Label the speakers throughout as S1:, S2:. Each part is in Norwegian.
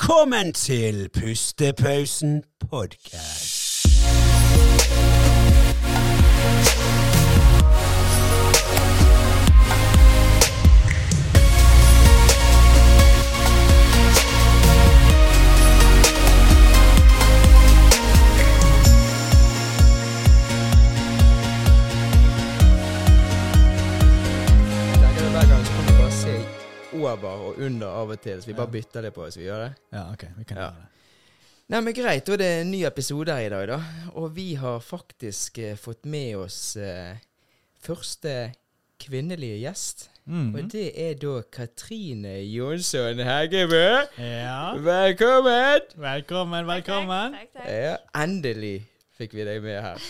S1: Velkommen til Pustepausen podcast.
S2: tenker at hver gang så kan vi bare se over og under av og til, så vi bare bytter det på hvis vi gjør det.
S3: Ja, ok. Vi kan
S2: Ja.
S3: gjøre det.
S2: Nei, men greit, da er det en ny episode her i dag, da. Og vi har faktisk eh, fått med oss eh, første kvinnelige gjest.
S3: Mm.
S2: Og det er da Katrine Jonsson Heggebø.
S3: Ja.
S2: Velkommen!
S3: Velkommen, velkommen.
S4: Takk, takk, takk.
S2: Ja, endelig fikk vi deg med her.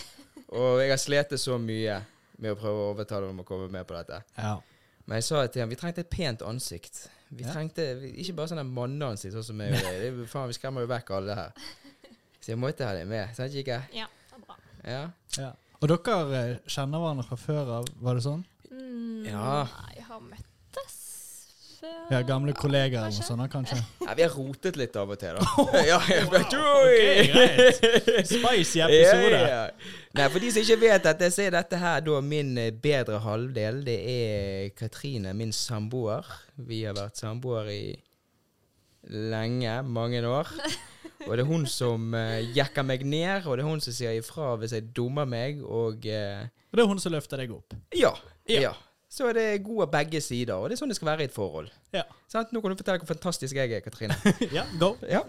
S2: Og jeg har slitt så mye med å prøve å overtale henne om å komme med på dette.
S3: Ja.
S2: Men jeg sa til ham vi trengte et pent ansikt. Vi
S3: Ja.
S2: trengte vi- Ikke bare sånn manneansikt, sånn som jeg og deg. Det er jo- Faen, vi skremmer jo vekk alle her. Så jeg måtte ha deg med. Sant, Kikki?
S4: Ja, det er bra.
S2: Ja.
S3: ja. Og dere eh, kjenner hverandre fra før av, var det sånn?
S4: Mm,
S2: Ja.
S4: Jeg har møttes før
S3: Ja, gamle kollegaer og
S4: kanskje.
S3: sånn, kanskje?
S2: ja. Vi har rotet litt av og til, da. ja, jeg vet jo.
S3: Spicy
S2: Ja, ja, ja. Nei, For de som ikke vet dette, så er dette her da min eh, bedre halvdel. Det er Katrine, min samboer. Vi har vært samboere i lenge, mange år. Og det er hun som eh, jekker meg ned, og det er hun som sier ifra hvis jeg dummer meg, og eh,
S3: Og det er hun som løfter deg opp.
S2: ja,
S3: Ja.
S2: ja. Så det er god av begge sider, og det er sånn det skal være i et forhold.
S3: Ja.
S2: Sant? Nå kan du fortelle hvor fantastisk jeg er, Katrine.
S3: ja, go.
S2: Ja.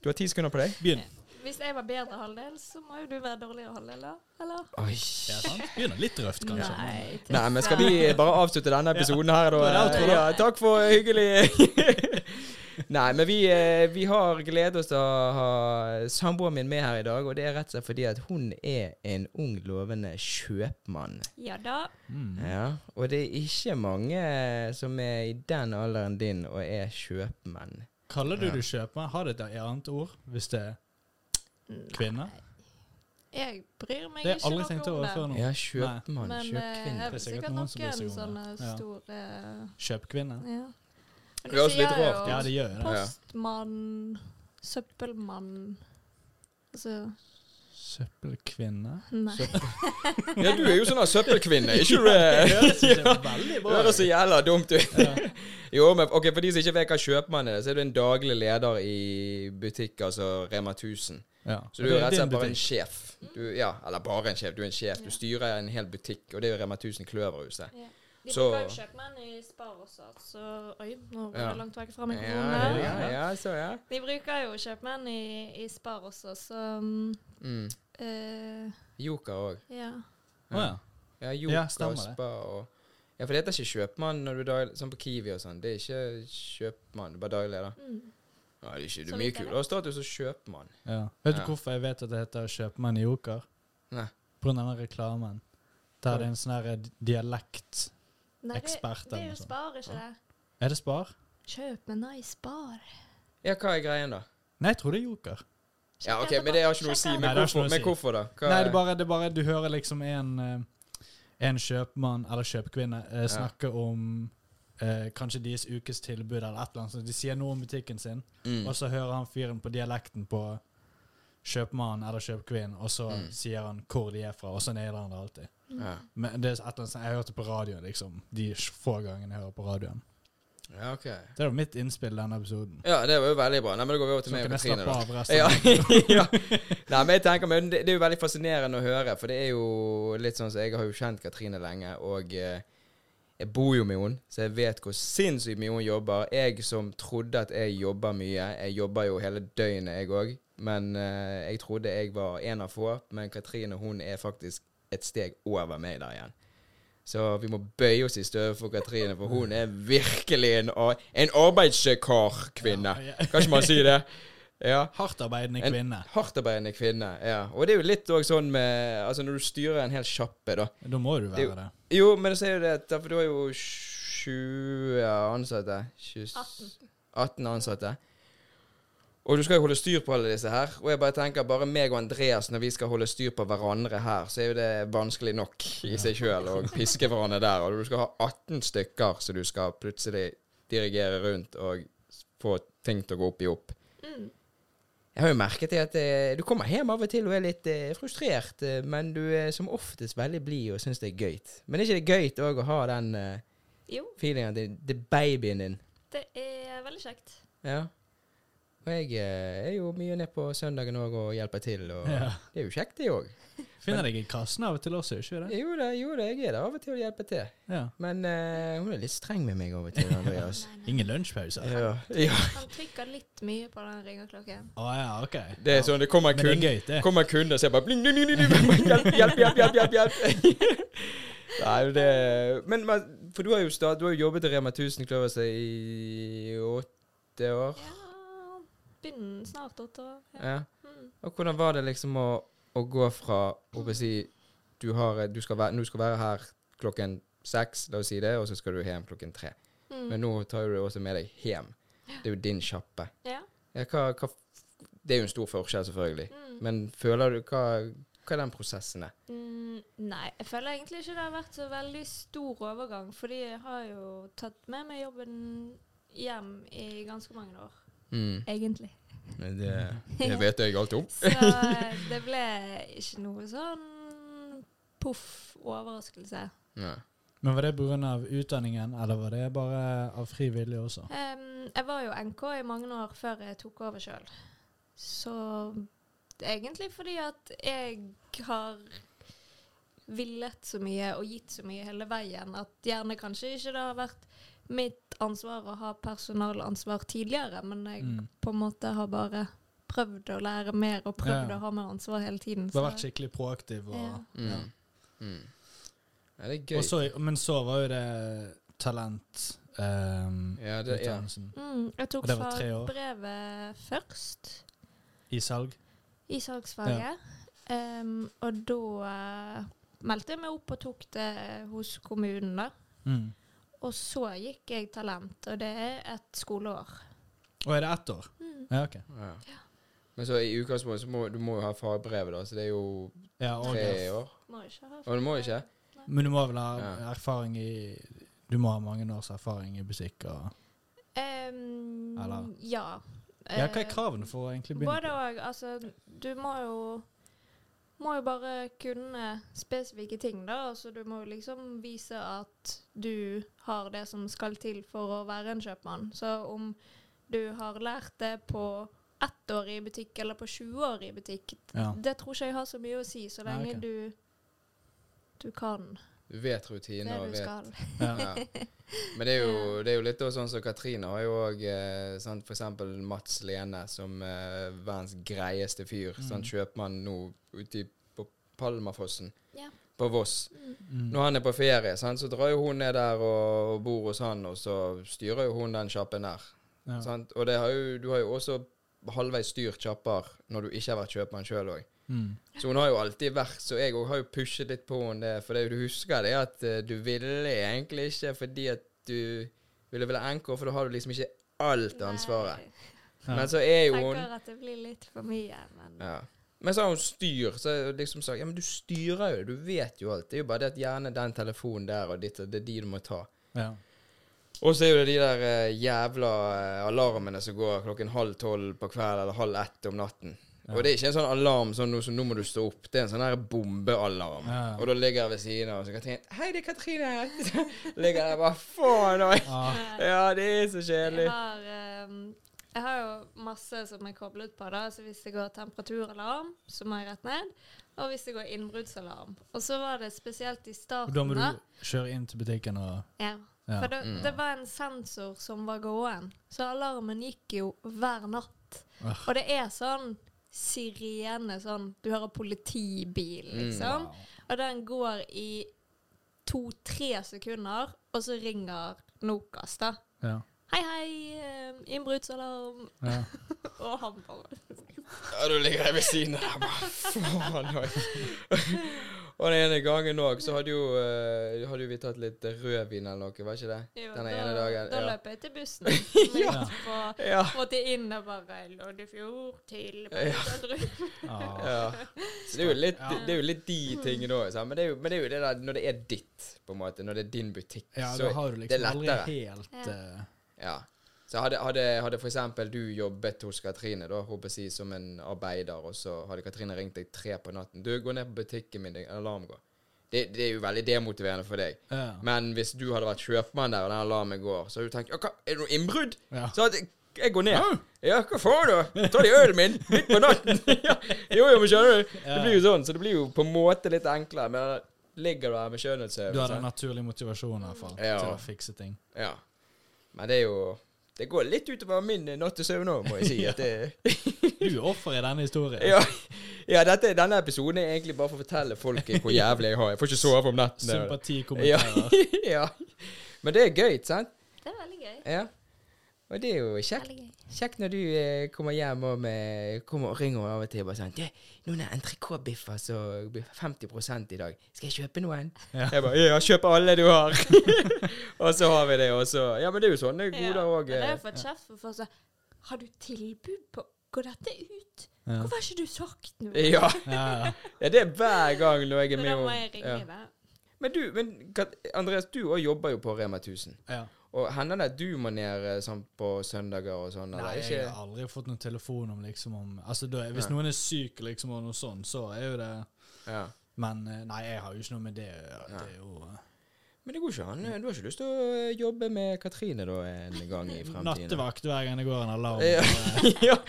S2: Du har ti sekunder på deg.
S3: Begynn.
S4: Hvis jeg var bedre halvdel, så må jo du være dårligere halvdel, da? Eller?
S2: Oi.
S3: Ja, sant? Begynner litt røft, kanskje.
S4: Nei. til-
S2: Nei, men skal vi bare avslutte denne episoden her,
S3: Nå er det
S2: da?
S3: outro, da.
S2: Ja, takk for hyggelig Nei, men vi, eh, vi har gledet oss til å ha samboeren min med her i dag, og det er rett og slett fordi at hun er en ung, lovende kjøpmann.
S4: Ja da.
S3: Mm.
S2: Ja, og det er ikke mange som er i den alderen din og er kjøpmenn.
S3: Kaller du
S2: Ja.
S3: det kjøpmann? Har det et annet ord hvis det er kvinne?
S4: Mm, Jeg bryr meg
S3: Det har jeg
S4: ikke
S3: aldri
S4: noe
S3: tenkt over før
S4: om det.
S3: nå.
S2: Ja, kjøpmann,
S4: Men eh,
S2: kjøpkvinne.
S3: Det er
S4: jeg vet
S3: sikkert
S4: sikkert sånn,
S3: noen som bryr
S4: noen
S3: seg om
S4: sånne
S3: det. Ja.
S4: store
S3: Kjøpkvinne?
S4: eh, Ja. Men
S2: Det er også litt
S4: sier jo
S2: rart.
S3: Ja, det gjør jo det.
S2: Ja.
S4: Postmann, søppelmann Altså,
S3: Søppelkvinne?
S4: nei.
S2: Ja, du er jo sånn søppelkvinne, ikke du?
S3: høres ikke veldig
S2: Det høres så jævla dumt ut.
S3: Ja.
S2: Jo, men ok, For de som ikke vet hva kjøpmann er, så er du en daglig leder i butikk, altså Rema 1000.
S3: Ja.
S2: Så du er
S3: Det
S2: rett og
S3: din
S2: slett bare en
S3: butikk.
S2: sjef. Du, ja, Eller bare en sjef, du er en sjef. Du styrer en hel butikk, og det er jo Rema 1000 Kløverhuset.
S4: Ja. De
S2: Så-
S4: bruker jo kjøpmenn i Spar også, så Oi, nå var
S2: Ja.
S4: det langt vekk fra
S2: Ja,
S4: mikrofonen.
S2: ja, ja, så ja.
S4: De bruker jo kjøpmenn i, i Spar også, så mm,
S2: Mm.
S4: eh,
S2: Joker òg.
S4: Ja.
S3: Å ja.
S2: Ja,
S3: Ja,
S2: Joker
S3: stemmer
S2: og
S3: det.
S2: Spa og Ja, for det heter ikke kjøpmann når du er daglig, sånn på Kiwi og sånn. Det er ikke kjøpmann, du er bare daglig leder.
S4: Mm.
S2: Ja, det er ikke du
S4: Så
S2: er
S4: liker
S2: mye
S4: jeg det.
S2: kulere status som kjøpmann.
S3: Ja. Vet du
S2: Ja.
S3: hvorfor jeg vet at det heter Kjøpmann i Joker?
S2: Nei.
S3: På grunn av den reklamen. Der det er en sånn her dialekt
S4: Nei, det,
S3: Ekspert
S4: det er
S3: eller
S4: jo
S3: noe sånt.
S4: Spar, ikke det?
S3: Er det Spar?
S4: Kjøp med nei, Spar.
S2: Ja, hva er greien, da?
S3: Nei, jeg tror det er Joker.
S2: Ja,
S4: Sjekk
S2: ok,
S4: etterpå.
S2: Men det har ikke noe å si.
S4: Sjekk
S2: Men
S3: Nei, det har
S2: hvorfor,
S3: ikke noe å
S2: men
S3: si.
S2: hvorfor da? Hva
S3: Nei,
S2: er-
S3: det er bare, det er bare du hører liksom en, eh, en kjøpmann eller kjøpkvinne eh, snakke om eh, kanskje deres ukes tilbud eller et eller annet. sånt. De sier noe om butikken sin,
S2: Mm.
S3: og så hører han fyren på dialekten på kjøpmannen eller kjøpkvinnen, og så
S2: Mm.
S3: sier han hvor de er fra, og så nailer han det alltid.
S2: Ja.
S3: Men det er et eller annet sånt, Jeg hørte på radioen, liksom. De få gangene jeg hører på radioen.
S2: ja, ok.
S3: Det var mitt innspill i denne episoden.
S2: Ja, det var jo veldig bra. Nei, men Da går vi over til
S3: Så
S2: meg og
S3: kan jeg
S2: Katrine,
S3: slappe
S2: da.
S3: av resten.
S2: Ja, ja. Nei, men jeg tenker, men det, det er jo veldig fascinerende å høre, for det er jo litt sånn som Jeg har jo kjent Katrine lenge, og eh, jeg bor jo med henne, så jeg vet hvor sinnssykt mye hun jobber. Jeg som trodde at jeg jobba mye, jeg jobber jo hele døgnet, jeg òg. Men eh, jeg trodde jeg var en av få, men Katrine hun er faktisk et steg over meg der igjen. Så vi må bøye oss i støvet for Katrine, for hun er virkelig en, ar- en arbeidskar kvinne.
S3: Ja, ja.
S2: Kan ikke man si det? Ja.
S3: Hardtarbeidende
S2: En-
S3: kvinne.
S2: Hardtarbeidende kvinne, ja. Og det er jo litt òg sånn med Altså, når du styrer en hel sjappe, da.
S3: Da må du
S2: Det er jo-
S3: være det.
S2: Jo, men så er jo det at For du har jo 20 ansatte. 20, 18 ansatte. Og du skal jo holde styr på alle disse her. Og jeg bare tenker, bare meg og Andreas, når vi skal holde styr på hverandre her, så er jo det vanskelig nok i seg sjøl å piske hverandre der. Og du skal ha 18 stykker som du skal plutselig dirigere rundt og få ting til å gå opp i opp.
S4: Mm.
S2: Jeg har jo merket det at eh, du kommer hjem av og til og er litt eh, frustrert, eh, men du er som oftest veldig blid og syns det er gøy. Men er ikke det gøy òg å ha den eh,
S4: Jo,
S2: feelingen at det, det er babyen din?
S4: det er veldig kjekt.
S2: Ja. Og jeg eh, er jo mye ned på søndagen òg og hjelper til, og
S3: Ja.
S2: det er jo kjekt, det òg.
S3: Finner deg i kassen av og til også, ikke det?
S2: Jo da, jo da, jeg er der av og til og hjelper til.
S3: Ja.
S2: Men eh, hun er litt streng med meg av og til, Andreas.
S3: Ingen lunsjpauser?
S2: ja. ja.
S4: Han trykker litt mye på den ringeklokken.
S3: Å ja, OK.
S2: Det er sånn, det kommer
S3: Men det er
S2: kunder,
S3: gøy, det.
S2: kommer kunder og ser bare bling, bling, bling, bling, bling, Hjelp, hjelp, hjelp, hjelp, hjelp, hjelp. Nei, det Men men- for du har jo, start, du har jo jobbet i Rema 1000 Kløverset i åtte år.
S4: Ja, begynner snart åtte år. Ja.
S2: Ja.
S4: Mm.
S2: Og hvordan var det liksom å, å gå fra å bare si du, har, du skal være, nå skal være her klokken seks, la oss si det, og så skal du hjem klokken tre. Men
S4: Mm.
S2: nå tar du det også med deg hjem. Det er jo din sjappe.
S4: Ja.
S2: Ja, hva, hva, f- det er jo en stor forskjell, selvfølgelig.
S4: Mm.
S2: Men føler du hva, hva er den prosessen er?
S4: Mm, nei, jeg føler egentlig ikke det har vært så veldig stor overgang, fordi jeg har jo tatt med meg jobben hjem i ganske mange år,
S2: Mm.
S4: egentlig.
S2: Det,
S4: Mhm.
S2: vet jeg alt om.
S4: Så eh, det ble ikke noe sånn poff overraskelse.
S2: Ja.
S3: Men var det pga. utdanningen, eller var det bare av fri vilje også?
S4: Em, jeg var jo NK i mange år før jeg tok over sjøl. Så det er egentlig fordi at jeg har villet så mye og gitt så mye hele veien at gjerne kanskje ikke det har vært mitt ansvar å ha personalansvar tidligere, men jeg
S3: Mm.
S4: på en måte har bare prøvd å lære mer og prøvd
S3: Ja.
S4: å ha mer ansvar hele tiden.
S3: Du har vært skikkelig proaktiv. Og,
S4: Ja.
S2: Mm.
S3: Ja.
S2: Mm. Ja, det er gøy.
S3: Og så, men så var jo det talent ehm,
S2: ja, det, ja.
S3: utdannelsen.
S4: mm, jeg
S3: Og
S4: tok
S3: det var tre år.
S4: fagbrevet først.
S3: I salg.
S4: i salgsfaget. Em, og da eh, meldte jeg meg opp og tok det hos kommunen, da.
S3: Mm.
S4: Og så gikk jeg talent, og det er et skoleår.
S3: Og er det ett år?
S4: Mm.
S3: Ja, ok.
S2: Ja. Men så i utgangspunktet så må du må jo ha fagbrevet, da, så det er jo
S3: Ja, og,
S2: tre år.
S4: Må ikke ha
S2: Og du må ikke?
S3: men du må vel ha
S2: Ja.
S3: erfaring i Du må ha mange års erfaring i butikk og
S4: Em,
S3: Eller?
S4: Ja.
S3: Ja, hva er
S4: Eh,
S3: kravene for å egentlig begynne?
S4: Både òg. Altså, du må jo må jo bare kunne spesifikke ting, da. Altså, du må jo liksom vise at du har det som skal til for å være en kjøpmann. Så om du har lært det på ett år i butikk eller på 20 år i butikk,
S3: Ja.
S4: det tror ikke jeg har så mye å si, så
S3: Nei,
S4: lenge
S3: ok.
S4: du du kan
S2: Du vet
S4: det
S2: rutiner og
S4: du
S2: vet
S4: skal.
S3: Ja.
S2: Ja. Men det er, jo, det er jo litt da sånn som Katrine har jo òg eh, sant, for eksempel Mats Lene som eh, verdens greieste fyr.
S4: Mm.
S2: Sant, kjøpmann nå ute i- på Palmafossen
S4: Ja.
S2: på Voss.
S3: Mm.
S2: Når han er på ferie, sant, så drar jo hun ned der og, og bor hos han, og så styrer jo hun den sjappen der.
S3: Ja.
S2: Sant? Og det har jo, du har jo også halvveis styrt sjapper når du ikke har vært kjøpmann sjøl òg.
S3: Mm.
S2: Så hun har jo alltid vært Så jeg òg har jo pushet litt på henne det, for det du husker, det er at eh, du ville egentlig ikke fordi at du ville være anker, for da har du liksom ikke alt ansvaret.
S4: Nei,
S3: Nei.
S2: Men så er
S4: Jeg
S2: jo hun
S4: tenker at det blir litt for mye, men
S2: ja. Men så har hun styr, så jeg liksom sagt Ja, men du styrer jo, du vet jo alt. Det er jo bare det at gjerne den telefonen der og ditt, og det er de du må ta.
S3: Ja.
S2: Og så er jo det de der eh, jævla eh, alarmene som går klokken halv tolv på kvelden eller halv ett om natten. Og det er ikke en sånn alarm sånn nå som nå må du stå opp. Det er en sånn der bombealarm.
S3: Ja.
S2: Og da ligger jeg ved siden av og så Katrine Hei, det er Katrine her. ligger der bare faen oi.
S3: Ah,
S2: Ja, det er så kjedelig.
S4: Jeg har, ehm, jeg har jo masse som er koblet på. da, så Hvis det går temperaturalarm, så må jeg rett ned. Og hvis det går innbruddsalarm. Og så var det spesielt i
S3: og
S4: starten.
S3: da må du kjøre inn til butikken og
S4: Ja.
S3: Ja.
S4: For det, det var en sensor som var gåen, så alarmen gikk jo hver natt.
S3: Ah.
S4: Og det er sånn sirene, sånn Du hører politibil, liksom.
S3: Wow.
S4: Og den går i to-tre sekunder, og så ringer Nokas, da.
S3: ja.
S4: Hei, hei, ehm, innbruddsalarm.
S3: Ja.
S4: Og han bare
S2: Ja, da ligger jeg ved siden av der bare faen oi. Og den ene gangen òg, så hadde jo, eh, hadde jo vi tatt litt rødvin eller noe, var ikke det?
S4: Jo,
S2: Den ene
S4: da,
S2: dagen.
S4: da
S2: ja.
S4: løp jeg til bussen. Som jeg
S3: Ja.
S4: gikk fra-
S2: Ja.
S4: fra til inn og bare Loddefjord til
S3: Ah.
S2: Ja. Så det er jo litt,
S3: Ja.
S2: det er jo litt de tingene òg. Men, det er jo- men det er jo det der når det er ditt, på en måte. Når det er din butikk.
S3: ja,
S2: så
S3: da har du
S2: det er
S3: liksom aldri
S2: lettere.
S3: helt eh,
S2: Ja. Så hadde, hadde, hadde for eksempel du jobbet hos Katrine da, håper jeg, å si, som en arbeider, og så hadde Katrine ringt deg tre på natten. Du, gå ned på butikken min, det er en alarm går. Det, det er jo veldig demotiverende for deg.
S3: Ja.
S2: Men hvis du hadde vært kjøpmann der, og den alarmen går, så hadde du tenkt «Ja, hva, Er det noe innbrudd?
S3: Ja.
S2: Så hadde jeg- jeg går
S3: Ah.
S2: ned. Ja, hva faen, da? Ta de ølen min midt på natten. ja. Jo, jo, men skjønner du? Det blir jo sånn. Så det blir jo på en måte litt enklere. Men ligger du her med
S3: Du hadde en
S2: skjønnhetsøvelse
S3: naturlig motivasjon i hvert fall
S2: Ja.
S3: til å fikse ting.
S2: Ja. Men det er jo Det går litt utover min eh, nattesøvn òg, må jeg si. At det,
S3: Du er offer i denne historien.
S2: ja, ja dette, denne episoden er egentlig bare for å fortelle folk hvor jævlig jeg har Jeg får ikke sove om nettene. Ja.
S3: Sympatikommentarer.
S2: ja. Men det er gøy, sant?
S4: Det er veldig gøy.
S2: Ja. Og det er jo kjekt.
S4: Veldig gøy.
S2: Kjekt når du eh, kommer hjem og med, kommer og ringer av og til og bare sånn «Du, 'Noen entrecôte-biffer som blir 50 i dag. Skal jeg kjøpe noen?'
S3: Ja.
S2: Jeg bare 'Ja, kjøp alle du har'. og så har vi det, og så Ja, men det er jo sånne goder
S4: Ja,
S2: òg.
S4: men Det har
S2: eh.
S4: jeg fått kjeft for. for så, har du tilbud på Går dette ut?
S3: Ja.
S4: Hvorfor har ikke du sagt noe?
S2: Ja.
S3: Ja. ja.
S2: ja, det er hver gang når jeg
S4: Så
S2: er med
S4: da må
S2: om-
S4: jeg ringe
S2: ja.
S4: deg.
S2: Men du, men Kat- Andreas, du òg jobber jo på Rema 1000.
S3: ja.
S2: Og hender det at du må ned eh, sånn på søndager og sånn?
S3: Nei,
S2: eller
S3: jeg
S2: ikke?
S3: har aldri fått noen telefon om liksom om Altså, da, hvis noen er syk liksom og noe sånt, så er jo det
S2: Ja.
S3: Men eh, nei, jeg har jo ikke noe med det å gjøre. Det er jo eh,
S2: Men det går ikke an. Du har ikke lyst til å eh, jobbe med Katrine da en gang i fremtiden?
S3: eh, nattevakt hver gang det går en alarm.
S2: Ja.
S3: Eh,
S2: ja,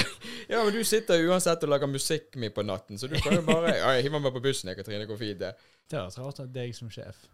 S2: ja, ja, men du sitter jo uansett og lager musikk med på natten, så du kan jo bare ja, jeg hiver meg på bussen, jeg, Katrine. Går fint, det.
S3: Det hadde vært rart å ha deg som sjef.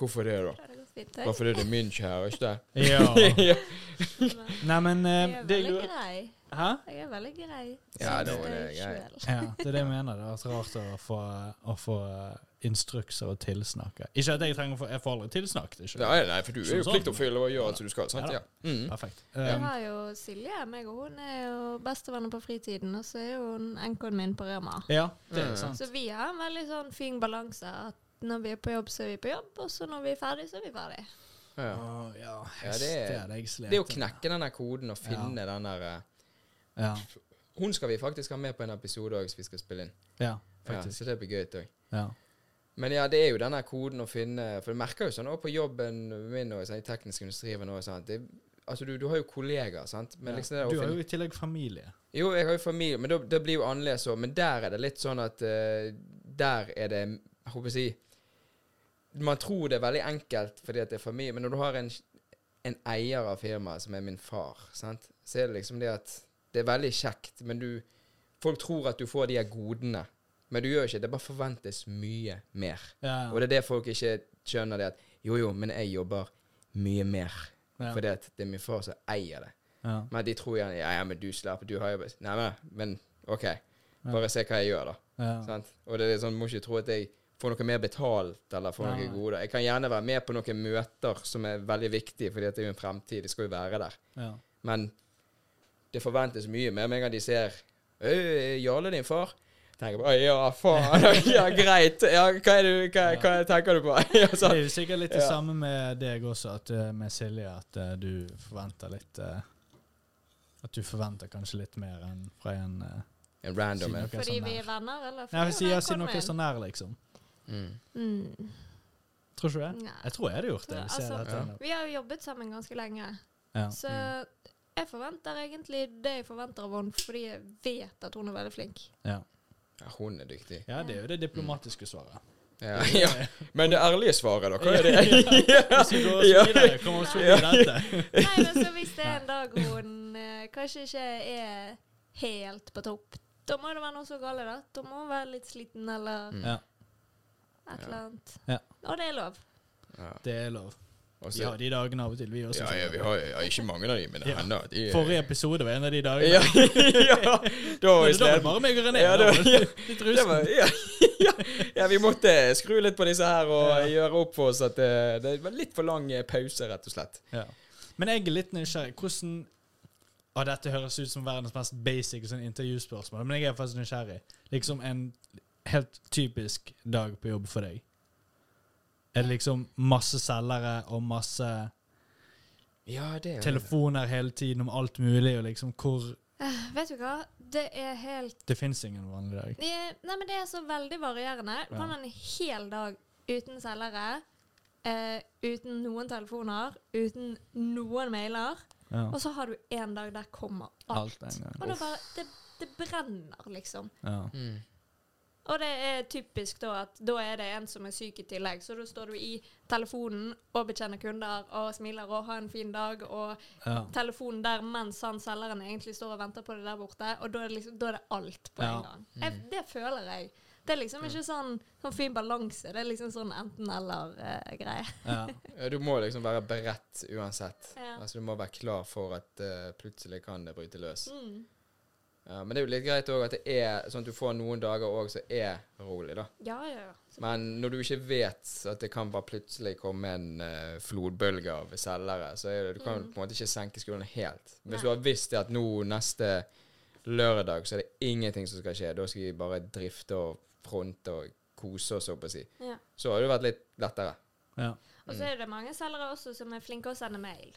S2: Hvorfor det, da?
S4: Da har det gått fint.
S2: Bare fordi det er min kjære, ikke det?
S3: Ja.
S2: Ja.
S3: Nei, men
S4: Jeg
S3: eh,
S4: er
S3: det jeg
S4: veldig
S3: lurer
S4: grei.
S3: Hæ?
S4: Jeg er veldig grei.
S2: Ja,
S4: Synes
S2: da er det
S4: jeg
S2: greit.
S4: selv.
S3: Ja, det er det jeg mener. Det hadde vært rart å få, å få eh, instrukser og tilsnakke. Ikke at jeg trenger å få Jeg får aldri tilsnakket, ikke
S2: Nei, nei, for du er jo pliktoppfyller og gjør alt som du skal. sant?
S3: Sånn, Ja
S2: Ja.
S3: da.
S2: Mm.
S3: Perfekt.
S4: Jeg
S3: Um,
S4: har jo Silje, meg og hun er jo bestevenner på fritiden, og så er jo hun NK-en min på Rema.
S3: ja, det er
S2: Mm.
S3: sant.
S4: Så vi har en veldig sånn fin balanse. at Når vi er på jobb, så er vi på jobb, og så når vi er ferdig, så er vi ferdig.
S2: Ja.
S3: Å, ja,
S2: Ja,
S3: det,
S2: det er-
S3: hadde jeg slet.
S2: Det er å knekke den der koden og finne den der eh,
S3: Ja,
S2: Hun skal vi faktisk ha med på en episode òg, hvis vi skal spille inn.
S3: ja
S2: Ja,
S3: faktisk.
S2: så det blir gøy òg.
S3: Ja.
S2: Men ja, det er jo denne koden å finne For jeg merker jo sånn også på jobben min og sånn, i teknisk industri og noe sånt det, Altså, du, du har jo kollegaer, sant? Men liksom det
S3: Ja.
S2: der å
S3: Du har
S2: finne
S3: jo i tillegg familie.
S2: Jo, jeg har jo familie, men da- det blir jo annerledes òg. Men der er det litt sånn at eh, Der er det Jeg håper å si Man tror det er veldig enkelt fordi at det er familie, men når du har en, en eier av firmaet som er min far, sant? så er det liksom det at Det er veldig kjekt, men du Folk tror at du får de her godene, men du gjør ikke det. Det bare forventes mye mer.
S3: Ja,
S2: Og det er det folk ikke skjønner, det at Jo, jo, men jeg jobber mye mer.
S3: Ja.
S2: Fordi at det er min far som eier det.
S3: ja.
S2: Men de tror gjerne Ja, ja, men du slapp, du har jo bare Nei, nei, men OK. Bare se hva jeg gjør, da.
S3: ja.
S2: Sant? Og det er sånn, må ikke tro at jeg får noe mer betalt eller får
S3: Nei.
S2: noe gode. Jeg kan gjerne være med på noen møter som er veldig viktige, fordi at det er jo en fremtid. Det skal jo være der.
S3: ja.
S2: Men det forventes mye mer med en gang de ser «Øy, Jarle, din far. Tenker jeg bare, «Å, Ja, faen. Ja, greit. Ja, hva, er du, hva, hva tenker du på? Ja,
S3: Det
S2: sant?
S3: er jo sikkert litt det
S2: Ja.
S3: samme med deg også, at, eh, med Silje, at eh, du forventer litt eh, At du forventer kanskje litt mer enn fra en eh,
S2: En
S3: siden
S2: random en.
S3: dere er
S4: Fordi
S3: så
S4: vi
S3: nær.
S4: er venner, eller?
S3: Nei,
S4: fordi
S3: jeg sier
S4: hun er
S3: siden dere er så
S4: NK-en
S3: nær, liksom.
S2: Mm.
S4: min. Mm.
S3: Tror ikke du det?
S4: Nei.
S3: Jeg tror jeg hadde gjort det.
S4: Tror-
S3: Hvis jeg hadde
S4: altså-
S3: hatt
S4: Vi har jo jobbet sammen ganske lenge,
S3: den. Ja. Mm.
S4: så jeg forventer egentlig det jeg forventer av henne, fordi jeg vet at hun er veldig flink.
S3: Ja.
S2: Ja, hun er dyktig.
S3: ja, det er jo det diplomatiske svaret.
S2: Ja, ja. Men det ærlige svaret, da? Hva er det?
S3: Hvis vi går så videre, kommer vi så videre i dette.
S4: Nei, men så hvis det er en dag hun eh, kanskje ikke er helt på topp, da må det være noe så galt, da. Da må hun være litt sliten, eller
S2: Mm.
S3: Ja,
S4: et eller annet.
S3: Ja.
S4: Og det er lov.
S2: Ja.
S3: det er lov.
S2: Og
S3: Vi
S2: så-
S3: har de dagene av og til, vi også.
S2: ja, ja, vi har ja, ikke mange av dem, men det
S3: Ja.
S2: hender. at De,
S3: Forrige episode var en av de dagene.
S2: ja, ja, da var
S3: Men
S2: vi
S3: Da var det
S2: sliten.
S3: bare meg og René.
S2: Ja,
S3: da
S2: det
S3: var
S2: var- ja.
S3: det Litt
S2: Det var-
S3: rusen.
S2: Ja, ja, ja, vi måtte skru litt på disse her og
S3: Ja.
S2: gjøre opp for oss at det, det var litt for lang eh, pause, rett og slett.
S3: Ja. Men jeg er litt nysgjerrig. Hvordan Å, dette høres ut som verdens mest basic sånn intervjuspørsmål, men jeg er faktisk nysgjerrig. Liksom en helt typisk dag på jobb for deg. Er det liksom masse selgere og masse
S2: Ja, det er
S3: telefoner hele tiden om alt mulig, og liksom hvor
S4: Eh, Vet du hva, det er helt
S3: Det fins ingen vanlig dag.
S4: Eh, Nei, men det er så veldig varierende. Du kan
S3: Ja.
S4: ha en hel dag uten selgere, eh, uten noen telefoner, uten noen mailer.
S3: Ja.
S4: Og så har du en dag der kommer
S3: Alt
S4: alt.
S3: en gang.
S4: og da bare det, det brenner, liksom.
S3: Ja.
S2: Mm.
S4: Og det er typisk da at da er det en som er syk i tillegg, så da står du i telefonen og betjener kunder og smiler og har en fin dag, og
S3: Ja.
S4: telefonen der mens han selgeren egentlig står og venter på det der borte, og da er det, liksom, da er det alt på
S3: Ja.
S4: en gang. Jeg, det føler jeg. Det er liksom ikke sånn, sånn fin balanse, det er liksom sånn eh, enten-eller-greie.
S3: Ja.
S2: Ja, Du må liksom være beredt uansett.
S4: Ja.
S2: Altså Du må være klar for at eh, plutselig kan det bryte løs.
S4: Mm.
S2: Ja, men det er jo litt greit òg at det er sånn at du får noen dager òg som er rolig, da.
S4: Ja, ja, ja. Så-
S2: Men når du ikke vet at det kan bare plutselig komme en eh, flodbølge av selgere, så er det, du kan du på en måte ikke senke skuldrene helt. Hvis
S4: Nei.
S2: du har visst det at nå neste lørdag så er det ingenting som skal skje, da skal vi bare drifte og fronte og kose oss, holdt på å si.
S4: Ja.
S2: Så har det vært litt lettere.
S3: Ja.
S4: Og
S3: Mm.
S4: så er det mange selgere også som er flinke å sende mail.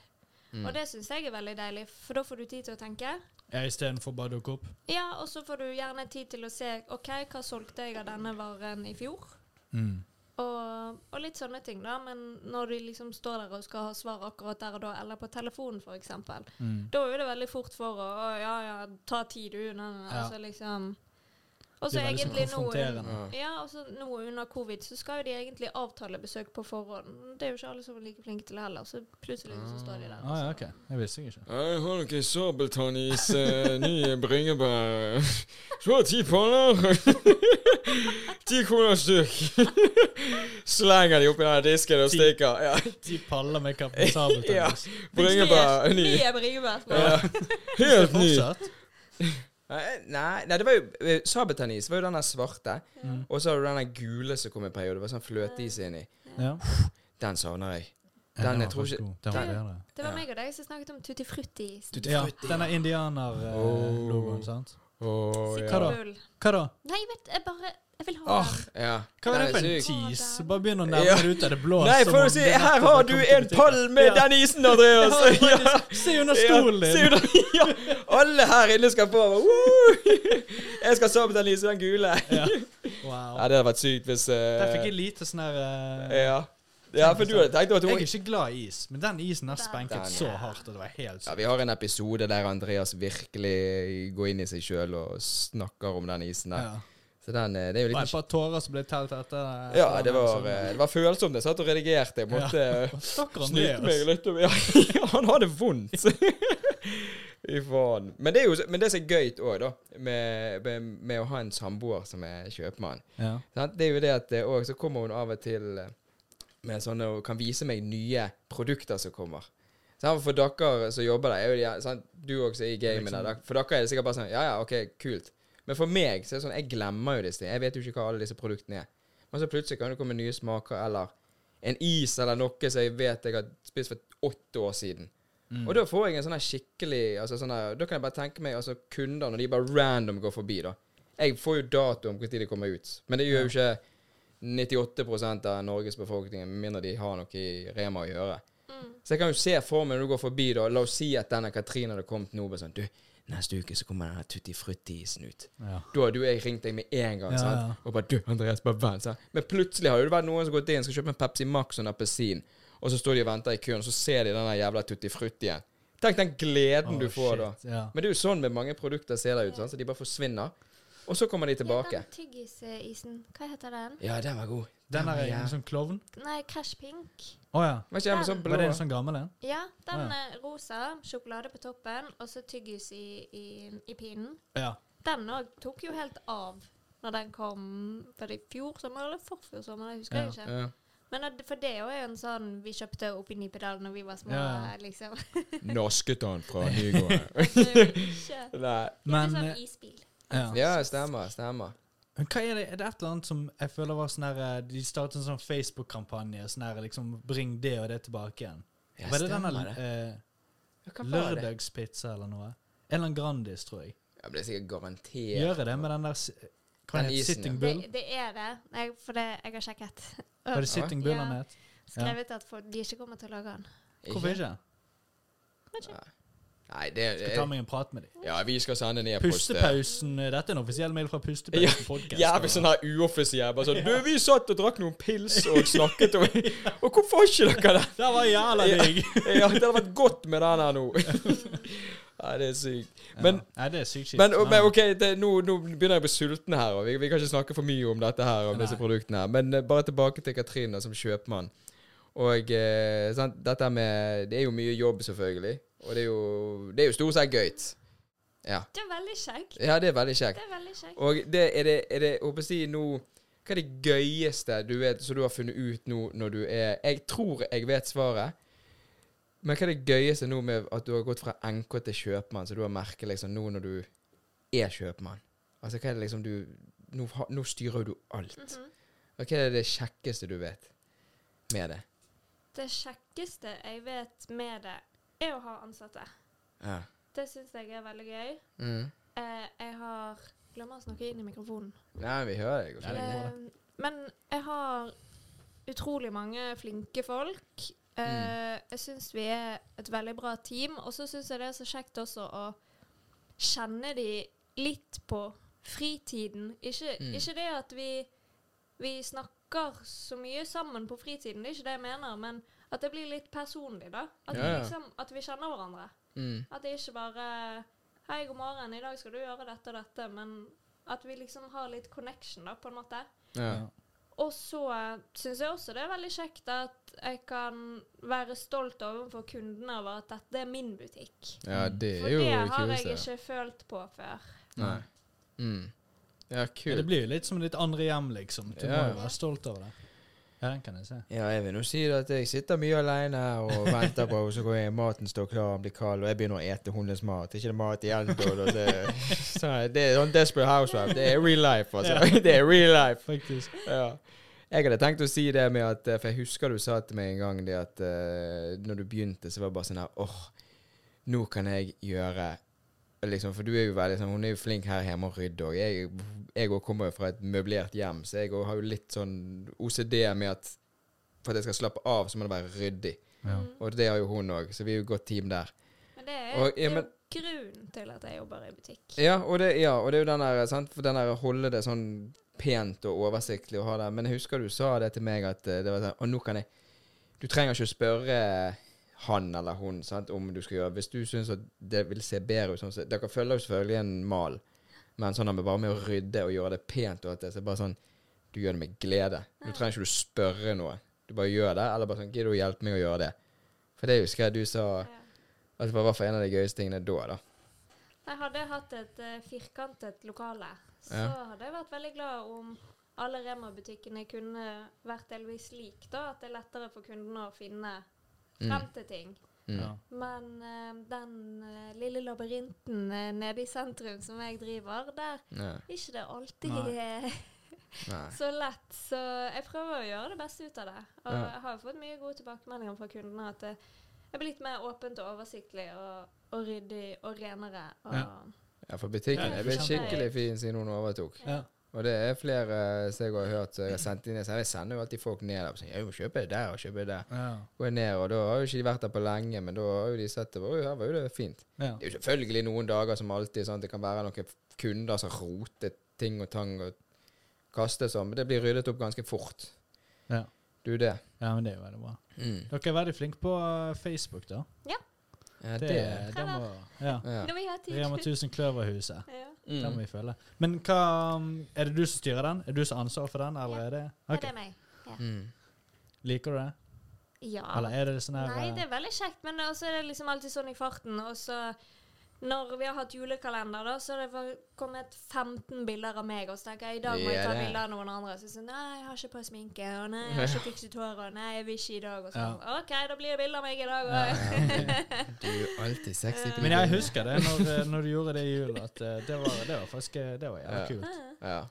S4: Og det syns jeg er veldig deilig, for da får du tid til å tenke.
S3: ja Istedenfor bare å dukke opp.
S4: Ja, og så får du gjerne tid til å se OK, hva solgte jeg av denne varen i fjor?
S3: Mm.
S4: Og, og litt sånne ting, da. Men når de liksom står der og skal ha svar akkurat der og da, eller på telefonen f.eks., eksempel
S3: Mm.
S4: da er jo det veldig fort for å å, Ja, ja, ta tid, du. Nei, nei,
S3: Ja.
S4: Altså liksom Og
S3: Det
S4: så
S3: er veldig sånn
S4: egentlig nå
S3: konfronterende.
S2: Ja.
S4: ja, og så nå under covid så skal jo de egentlig avtale besøk på forhånd. Det er jo ikke alle som er like flinke til det heller, så plutselig så står de der. altså.
S3: Ah, ja, ok. Det visste jeg ikke.
S2: Jeg har dere sabeltannis eh, nye bringebær? Slå ti panner! ti kroner stykk. Slenger de oppi den disken og
S3: Ti.
S2: stikker. Ja.
S3: De paller med Kaptein Sabeltann.
S2: Ja.
S3: altså.
S2: Bringebær ny.
S4: Nye bringebær.
S2: Ja.
S3: Det er
S2: Helt ny.
S3: fortsatt.
S2: Nei, nei, nei, det var jo eh, Sabeltannis var jo den der svarte.
S3: Mm.
S2: Og så har du den der gule som kom i en periode. Det var sånn fløteis inni.
S3: Ja.
S2: Den savner jeg.
S3: Ja,
S2: Den,
S3: var
S2: jeg tror
S3: faktisk
S2: ikke
S3: god. Den var
S4: den-
S3: bedre.
S4: Det var
S2: Ja.
S4: meg og deg som snakket om Tutti Frutti.
S2: Tutti
S3: Ja,
S2: frutti.
S3: denne indianer-logoen,
S2: Oh.
S3: sant?
S2: Åh,
S4: Sikkert
S2: ja. Ah,
S3: da?
S4: bull.
S3: Hva da?
S4: Nei, vet jeg bare Jeg vil ha
S2: Åh,
S4: den.
S2: ja.
S3: Hva var det
S2: Den er
S3: for en
S2: syk.
S3: tis?
S4: Å, den.
S3: Bare begynn å
S2: Ja.
S3: nærme det ut av det blå.
S2: Nei,
S3: som
S2: for
S3: om
S2: å si,
S3: det
S2: her
S3: nettopp
S2: har
S3: kom
S2: du
S3: til
S2: en
S3: butikken.
S2: pall med
S3: Ja.
S2: den isen, Andreas!
S3: Ja,
S2: Ja.
S3: faktisk. Se under stolen
S2: Ja,
S3: din!
S2: sier du- ja. Alle her inne skal få. Woo! Jeg skal sove med den lyse, den gule.
S3: Ja. Wow.
S2: Ja, det hadde vært sykt hvis eh,
S3: Der fikk jeg lite sånn her eh,
S2: ja. ja, for du hadde tenkt at
S3: Jeg
S2: hun
S3: er ikke glad i is, men den isen der
S4: Den-
S3: spenket
S2: Den-
S3: så hardt at det var helt
S2: ja,
S3: sykt.
S2: Vi har en episode der Andreas virkelig går inn i seg sjøl og snakker om den isen der.
S3: Ja.
S2: Så den, eh, det er jo
S3: Og et
S2: litt
S3: par tårer som ble telt etter. etter
S2: Ja,
S3: den,
S2: det var,
S3: så-
S2: eh, det var følsomt. Jeg satt og redigerte. Jeg måtte eh,
S3: Stakkar
S2: Snyte meg
S3: Andreas.
S2: litt om ja, Han har det vondt. Fy faen. Men det er jo men det som er gøy òg, da, med, med, med å ha en samboer som er kjøpmann,
S3: Ja.
S2: sant? det er jo det at det òg så kommer hun av og til eh, med sånne og kan vise meg nye produkter som kommer. Sant? For dere som jobber der, er jo de, eh, sant? du også er i gamet
S3: Liksom-
S2: der. For dere er det sikkert bare sånn Ja, ja, OK, kult. Men for meg så er det sånn Jeg glemmer jo disse tingene. Jeg vet jo ikke hva alle disse produktene er. Men så plutselig kan det komme nye smaker eller en is eller noe som jeg vet jeg har spist for åtte år siden. Og da får jeg en sånn her skikkelig altså sånn her, Da kan jeg bare tenke meg altså kunder når de bare random går forbi, da. Jeg får jo dato om når de kommer ut, men det gjør jo ikke 98 av Norges befolkning, med mindre de har noe i Rema å gjøre. Så jeg kan jo se for meg når du går forbi, da La oss si at denne Katrine hadde kommet nå. bare Sånn, du, neste uke så kommer denne Tutti Frutti-isen ut.
S3: Ja.
S2: Da hadde jo jeg ringt deg med en gang.
S3: Ja,
S2: sant?
S3: ja.
S2: Og bare du, Andreas, bare vent. Sant? Men plutselig har jo det vært noen som har gått inn skal kjøpe en Pepsi Max og en appelsin, og så står de og venter i køen, og så ser de den der jævla Tutti Fruttien. Tenk den gleden
S3: Å,
S2: du får da.
S3: shit, ja.
S2: Men det er jo sånn med mange produkter ser det ut, sant? så de bare forsvinner. Og så kommer de
S4: Ja,
S2: tilbake.
S4: den tyggisisen. Hva heter den?
S2: Ja, den var god.
S3: Den der
S2: var
S3: er en
S2: jæv-
S3: sånn klovn.
S4: Nei, Crash Pink.
S3: Å ja.
S2: Var ikke jeg med
S4: Den.
S2: sånn blå?
S3: Var det en sånn gammel en?
S4: Ja, den
S3: Å,
S4: eh, rosa. Sjokolade på toppen, og så tyggis i, i, i pinnen.
S3: Ja.
S4: Den òg tok jo helt av når den kom Var det i fjor sommer eller forfjor sommer? Jeg husker
S3: Ja.
S4: ikke.
S2: Ja.
S4: Men at- for det er jo en sånn vi kjøpte oppi Nipedal når vi var små,
S3: Ja.
S4: liksom.
S2: Norsket han fra Nygården.
S4: Det er jo ikke
S2: Nei.
S4: Ikke
S3: Men
S4: sånn
S3: eh,
S4: isbil.
S3: ja.
S2: Ja, stemmer. Stemmer.
S3: Men hva er det? Er det et eller annet som jeg føler var sånn her eh, De startet en sånn Facebook-kampanje. Sånn her liksom Bring det og det tilbake igjen.
S2: Ja,
S3: var det
S2: stemmer
S3: denne
S2: det.
S3: eh,
S2: Hva var det?
S3: lørdagspizza eller noe? En eller annen Grandis, tror jeg.
S2: Ja, men det er sikkert garantert.
S3: Gjør jeg det med den der si- Hva
S2: Den
S3: heter det?
S2: isen,
S3: Sitting
S2: ja.
S3: Bull?
S4: Det, det er det, jeg, for det jeg har sjekket.
S3: Var det Sitting Bull han
S4: Ja.
S3: het?
S4: Skrevet at folk, de ikke kommer til å lage den.
S3: Hvorfor ikke?
S2: Nei. Nei, det
S3: Skal ta meg en prat med dem.
S2: Ja, vi skal sende en e-post. eh,
S3: Pustepausen. Dette er en offisiell mail fra
S2: Ja,
S3: Pustepausen podcast.
S2: Jævlig sånn her uoffisiell. Bare sånn Du, vi satt og drakk noen pils og snakket om Og hvorfor har ikke dere det?
S3: Det var jævla
S2: Ja.
S3: digg!
S2: Ja, det hadde vært godt med den her nå. Nei, det er sykt. Men
S3: Ja. Nei, det er sykt kjipt.
S2: Men,
S3: Ja.
S2: men OK, det, nå, nå begynner jeg å bli sulten her. Og vi, vi kan ikke snakke for mye om dette her Om
S3: Nei.
S2: disse produktene her Men eh, bare tilbake til Katrine som kjøpmann. Og eh, sant, dette med Det er jo mye jobb, selvfølgelig. Og det er jo, det er jo stort sett gøy. Ja.
S4: Det er veldig kjekt.
S2: ja, det er veldig kjekt.
S4: Det er veldig kjekt.
S2: Og det er det, er det jeg håper å si nå Hva er det gøyeste du vet som du har funnet ut nå når du er Jeg tror jeg vet svaret. Men hva er det gøyeste nå med at du har gått fra NK til kjøpmann, så du har merket liksom nå når du er kjøpmann? Altså hva er det liksom du Nå, ha- nå styrer du alt.
S4: Mhm.
S2: Og Hva er det kjekkeste du vet med det?
S4: Det kjekkeste jeg vet med det, er å ha ansatte.
S2: Ja.
S4: Det syns jeg er veldig gøy.
S2: Mm.
S4: Eh, jeg har Glemmer å snakke inn i mikrofonen.
S2: Nei, vi hører deg.
S3: Ja, det går
S4: Eh, men jeg har utrolig mange flinke folk. Eh,
S2: Mm.
S4: Jeg syns vi er et veldig bra team. Og så syns jeg det er så kjekt også å kjenne de litt på fritiden. Ikke,
S2: Mm.
S4: ikke det at vi, vi snakker så mye sammen på fritiden, det er ikke det jeg mener, men at det blir litt personlig, da. At,
S2: Ja, ja.
S4: Vi, liksom, at vi kjenner hverandre.
S2: Mm.
S4: At det ikke bare Hei, god morgen, i dag skal du gjøre dette og dette. Men at vi liksom har litt connection, da, på en måte.
S2: Ja.
S3: Ja.
S4: Og så syns jeg også det er veldig kjekt at jeg kan være stolt overfor kundene over at dette er min butikk.
S2: ja, det
S4: For
S2: er jo
S4: det
S2: det
S4: har jeg
S2: kuleste.
S4: ikke følt på før.
S2: Nei. Mm. Ja,
S3: Ja, det
S2: kult.
S3: blir jo litt som ditt andre hjem, liksom. Du må
S2: Ja.
S3: jo være stolt over det. Ja, den kan jeg se.
S2: Ja, jeg vil nå si det at jeg sitter mye alene og venter på og så går jeg, maten står klar, den blir kald, og jeg begynner å ete hundens mat. Det er ikke det mat igjen, da. da, Det, så det er sånn Desperate Housewife. Det er real life, altså. Det er real life.
S3: Faktisk.
S2: Ja. Jeg hadde tenkt å si det med at eh, For jeg husker du sa til meg en gang det at eh, når du begynte, så var det bare sånn her åh, nå kan jeg gjøre Liksom, for du er jo veldig sånn Hun er jo flink her hjemme og rydder òg. Jeg, jeg også kommer jo fra et møblert hjem, så jeg også har jo litt sånn OCD med at for at jeg skal slappe av, så må det være ryddig.
S3: Ja.
S2: Og det har jo hun òg, så vi er jo et godt team der.
S4: Mm. Men det er,
S2: Og- ja,
S4: det er
S2: men-
S4: jo grunnen til at jeg jobber i butikk.
S2: Ja, og det, ja, og det er jo den der, sant? For den der å holde det sånn pent og oversiktlig og ha det. Men jeg husker du sa det til meg at eh, det var sånn, og nå kan jeg, du trenger ikke å spørre han eller hun sant, om du skal gjøre, hvis du synes at det vil se bedre ut. Sånn, så, dere følger jo selvfølgelig en mal, men sånn at vi bare med å rydde og gjøre det pent og alt det, så er det bare sånn, du gjør det med glede. Du trenger ikke å spørre noe. Du bare gjør det, eller bare sånn, gidder du å hjelpe meg å gjøre det? For det husker jeg du sa,
S4: Ja.
S2: at det var i hvert fall en av de gøyeste tingene da, da.
S4: Jeg hadde jeg hatt et eh, firkantet lokale, så
S2: Ja.
S4: hadde jeg vært veldig glad om alle Rema-butikkene kunne vært delvis lik, da, at det er lettere for kundene å finne frem til ting.
S2: Mm.
S3: Ja.
S4: Men eh, den eh, lille labyrinten eh, nede i sentrum som jeg driver, der
S2: Ja,
S4: er ikke det alltid eh,
S2: nei.
S4: så lett. Så jeg prøver å gjøre det beste ut av det. Og
S2: Ja.
S4: jeg har jo fått mye gode tilbakemeldinger fra kundene at det er blitt mer åpent og oversiktlig og, og ryddig og renere. Og
S3: Ja.
S2: Ja, for butikken
S3: Ja,
S2: er blitt
S3: for eksempel.
S2: skikkelig fin siden hun overtok.
S3: Ja.
S2: Og det er flere eh, som jeg har hørt som jeg har sendt inn. Så jeg sender jo alltid folk ned der og sier 'jeg må kjøpe det der og kjøpe det der'.
S3: Ja.
S2: Går jeg ned, og da har jo ikke de vært der på lenge, men da har jo de sett det. Oi, her var jo det fint.
S3: Ja.
S2: Det er jo selvfølgelig noen dager som alltid sånn at det kan være noen kunder som roter ting og tang og kaster sånn, men det blir ryddet opp ganske fort.
S3: Ja.
S2: Du, det.
S3: ja, men det er jo veldig bra.
S2: Mm.
S3: Dere er veldig flinke på eh, Facebook, da.
S2: Ja,
S3: Det,
S2: det
S3: det må Ja.
S2: ja.
S4: Når vi har tid.
S3: Rema 1000 Kløverhuset.
S4: Ja.
S3: Det
S2: Mm.
S3: må vi følge. Men hva um, Er det du som styrer den? Er du som har ansvar for den, eller
S4: Ja.
S3: er det
S4: Er
S3: Ok.
S4: det meg?
S2: Mm.
S3: Liker du det?
S4: Ja.
S3: Eller er det sånn her
S4: Nei, det
S3: eh,
S4: er veldig kjekt, men også er det liksom alltid sånn i farten. Og så når vi har hatt julekalender, da, så har det var- kommet 15 bilder av meg. Og så tenker jeg i dag må jeg
S2: Ja,
S4: ta
S2: det.
S4: bilder av noen andre. Så sånn Nei, jeg har ikke på sminke. Og nei, jeg har ikke fikset håret. Og nei, jeg vil ikke i dag. Og sånn. OK, da blir det bilde av meg i dag
S3: Ja,
S4: òg.
S2: Mm. Du er jo alltid sexy. på de
S3: Men jeg
S2: bildene.
S3: husker det når, eh, når du gjorde det i jul, at eh, det var, det var faktisk eh, Det var jævlig
S2: Ja.
S3: kult.
S2: Ja.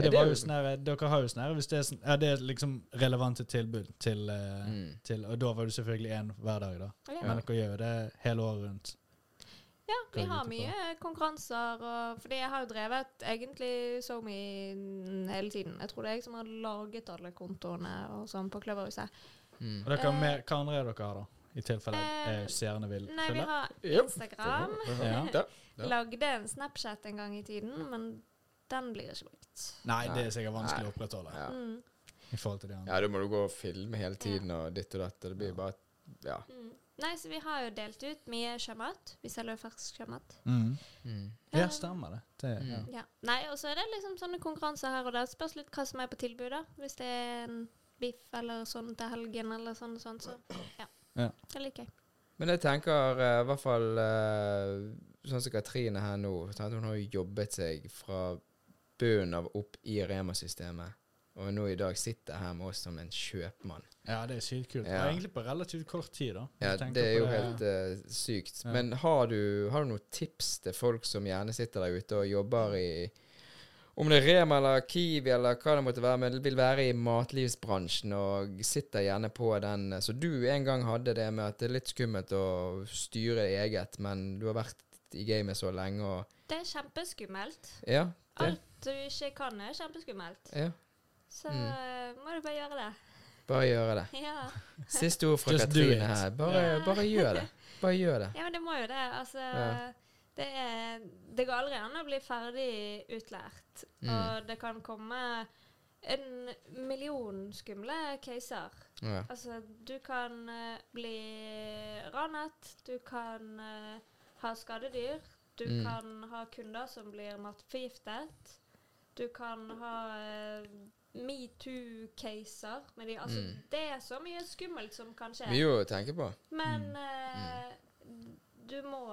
S2: Ja,
S3: det
S2: det er
S3: var jo
S2: jo-
S3: sånn her, Dere har jo sånn her, hvis det er, sånn, ja, det er liksom relevante tilbud til, eh,
S2: Mm.
S3: til Og da var du selvfølgelig én hver dag, da.
S4: Ja.
S3: Men dere gjør jo det hele året rundt.
S4: ja, vi
S3: Kan
S4: har
S3: jeg lure
S4: mye konkurranser. Og, fordi jeg har jo drevet egentlig SoMe hele tiden. Jeg tror det er jeg som har laget alle kontoene og sånn på Kløverhuset.
S2: Mm.
S3: Og dere, har
S4: Eh.
S3: mer, Hva andre er dere har, da? i tilfelle
S4: Eh,
S3: eh, seerne vil
S4: Nei, vi
S3: følge?
S4: har
S2: Yep.
S4: Instagram.
S3: Ja.
S2: Da. Ja.
S4: Lagde en Snapchat en gang i tiden, men den blir ikke brukt.
S3: Nei, det er sikkert vanskelig å opprettholde
S2: Ja.
S4: Mm.
S3: i forhold til de andre.
S2: ja, da må du gå og filme hele tiden og ditt og datt. og Det blir bare Ja.
S4: Mm. Nei, så vi har jo delt ut mye sjømat. Vi selger jo fersk sjømat.
S3: Mm.
S2: Mm.
S3: Ja, stemmer det. det ja.
S4: Ja. Nei, og så er det liksom sånne konkurranser her og der. Spørs litt hva som er på tilbud, da. Hvis det er en biff eller sånn til helgen eller sånn og sånn, så ja.
S3: Ja.
S4: Det liker jeg.
S2: Men jeg tenker eh, i hvert fall eh, Sånn som Katrine her nå sant? Hun har jo jobbet seg fra bunnen av opp i Rema-systemet. Og nå i dag sitter jeg her med oss som en kjøpmann.
S3: ja, det er sykt kult.
S2: Ja.
S3: Og egentlig på relativt kort tid, da.
S2: Ja,
S3: Hvis du tenker
S2: Det er jo
S3: på
S2: helt eh, sykt.
S3: Ja.
S2: Men har du, har du noen tips til folk som gjerne sitter der ute og jobber i om det er Rema eller Kiwi eller hva det måtte være, men vil være i matlivsbransjen og sitter gjerne på den eh, Så du en gang hadde det med at det er litt skummelt å styre eget, men du har vært i gamet så lenge og
S4: Det er kjempeskummelt.
S2: Ja. Det.
S4: Alt du ikke kan, er kjempeskummelt.
S2: ja.
S4: Så
S2: Mm.
S4: eh, må du bare gjøre det.
S2: Bare gjøre det.
S4: Ja.
S2: Siste ord fra
S3: Just do it.
S2: Katrine her. Bare,
S4: Ja.
S2: bare gjør det. Bare gjør det.
S4: ja, men det må jo det. Altså
S2: Ja.
S4: det, er, det går aldri an å bli ferdig utlært.
S2: Mm.
S4: Og det kan komme en million skumle caser.
S2: Ja.
S4: Altså, du kan eh, bli ranet, du kan eh, ha skadedyr, du
S2: Mm.
S4: kan ha kunder som blir matforgiftet, du kan ha eh, metoo-caser men de, altså,
S2: Mm.
S4: Det er så mye skummelt som kan skje.
S2: Mye å tenke på.
S4: Men eh, du må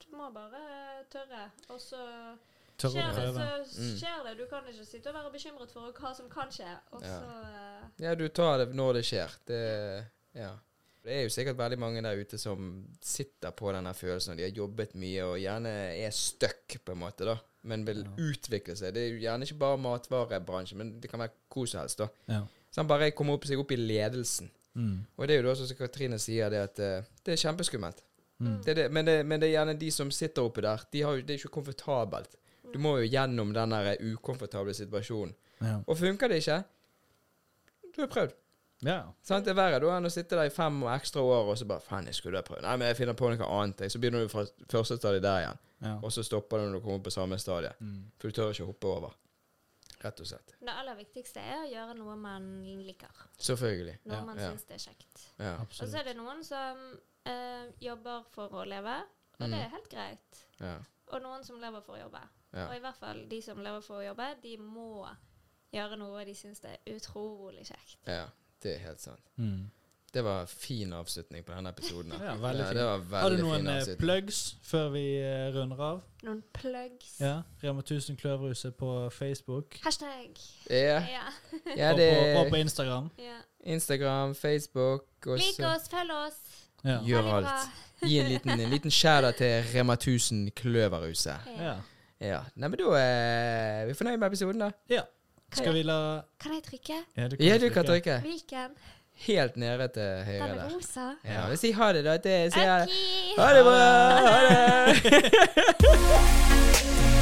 S4: Du må bare tørre. Og så
S3: det. Tør å
S4: skjer det,
S3: prøve.
S4: så
S2: Mm.
S4: skjer det. Du kan ikke sitte og være bekymret for hva som kan skje, og
S2: Ja.
S4: så eh,
S2: Ja, du tar det når det skjer. Det, ja. det er jo sikkert veldig mange der ute som sitter på denne følelsen, og de har jobbet mye og gjerne er stuck, på en måte, da. Men vil utvikle seg. Det er jo gjerne ikke bare matvarebransjen, men det kan være hvor som helst, da.
S3: Ja.
S2: Så han bare kommer opp, seg opp i ledelsen.
S3: Mm.
S2: Og det er jo da sånn som Katrine sier, det at eh, det er kjempeskummelt.
S3: Mm.
S2: Det er det, men, det, men det er gjerne de som sitter oppe der. De har jo, det er jo ikke komfortabelt. Du må jo gjennom den der ukomfortable situasjonen.
S3: Ja.
S2: Og funker det ikke, du har prøvd.
S3: ja.
S2: Sant? Det er verre da enn å sitte der i fem og ekstra år og så bare Faen, jeg skulle ha prøvd. Nei, men jeg finner på noe annet. jeg». Så begynner du fra første stadie der igjen.
S3: ja.
S2: Og så stopper du når du kommer på samme stadie.
S3: Mm.
S2: For du tør ikke hoppe over. Rett og slett.
S4: Det aller viktigste er å gjøre noe man liker.
S2: Selvfølgelig.
S4: Noe
S3: Ja.
S4: man
S2: Ja.
S4: syns det er kjekt.
S2: Ja.
S4: Og så
S3: Absolutt.
S4: er det noen som eh, jobber for å leve, og det er helt greit.
S2: ja.
S4: Og noen som lever for å jobbe.
S2: Ja.
S4: Og i hvert fall de som lever for å jobbe, de må gjøre noe de syns det er utrolig kjekt.
S2: ja. Det er helt sant.
S3: Mm.
S2: Det var fin avslutning på denne episoden. her.
S3: Ja, veldig
S2: det
S3: fin.
S2: var veldig
S3: Har du noen
S2: fin
S3: eh,
S2: avslutning.
S3: plugs før vi eh, runder av?
S4: Noen plugs.
S3: Ja. Rema 1000 Kløverhuset på Facebook.
S4: Hashtag.
S2: Ja.
S4: Ja.
S2: ja,
S3: og,
S2: det
S3: på, og
S2: er
S3: på Instagram.
S4: ja.
S2: Instagram, Facebook og
S4: Lik
S2: så
S4: oss, følg oss.
S3: Ja.
S4: Ha
S2: Gjør
S4: det bra.
S2: alt. Gi en liten, en liten skjæra til Rema 1000 Kløverhuset.
S3: ja.
S2: Ja. Nei, men da er vi fornøyd med episoden, da.
S3: ja.
S4: Kan
S3: Skal
S4: jeg-
S3: vi la
S4: Kan jeg trykke?
S3: Ja, du
S2: Ja, du kan
S3: trykke.
S2: trykke.
S4: Hvilken?
S2: Helt nede til høyre
S4: Den er
S2: der.
S4: rosa.
S2: Ja, vi sier ha det, da. Det, sier jeg det.
S4: Ok.
S2: Ha det bra! Ha det!